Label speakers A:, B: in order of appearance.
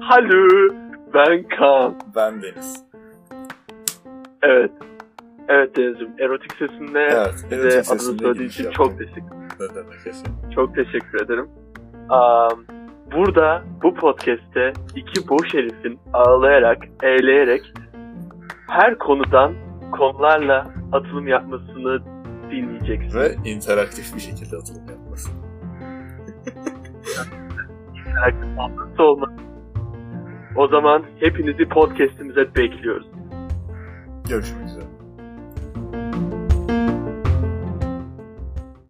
A: Hallo, ben Kaan.
B: Ben Deniz.
A: Evet. Evet Deniz'im, erotik sesinle
B: Evet.
A: bize
B: erotik
A: adını
B: sesimle
A: söylediğin
B: giriş
A: için
B: yaptım.
A: çok teşekkür,
B: Ne demek efendim.
A: çok teşekkür ederim. Aa, burada, bu podcast'te iki boş herifin ağlayarak, eğleyerek her konudan konularla atılım yapmasını dinleyeceksin.
B: Ve interaktif bir şekilde atılım yapması.
A: Nasıl olmaz? O zaman hepinizi podcast'imize bekliyoruz.
B: Görüşmek üzere.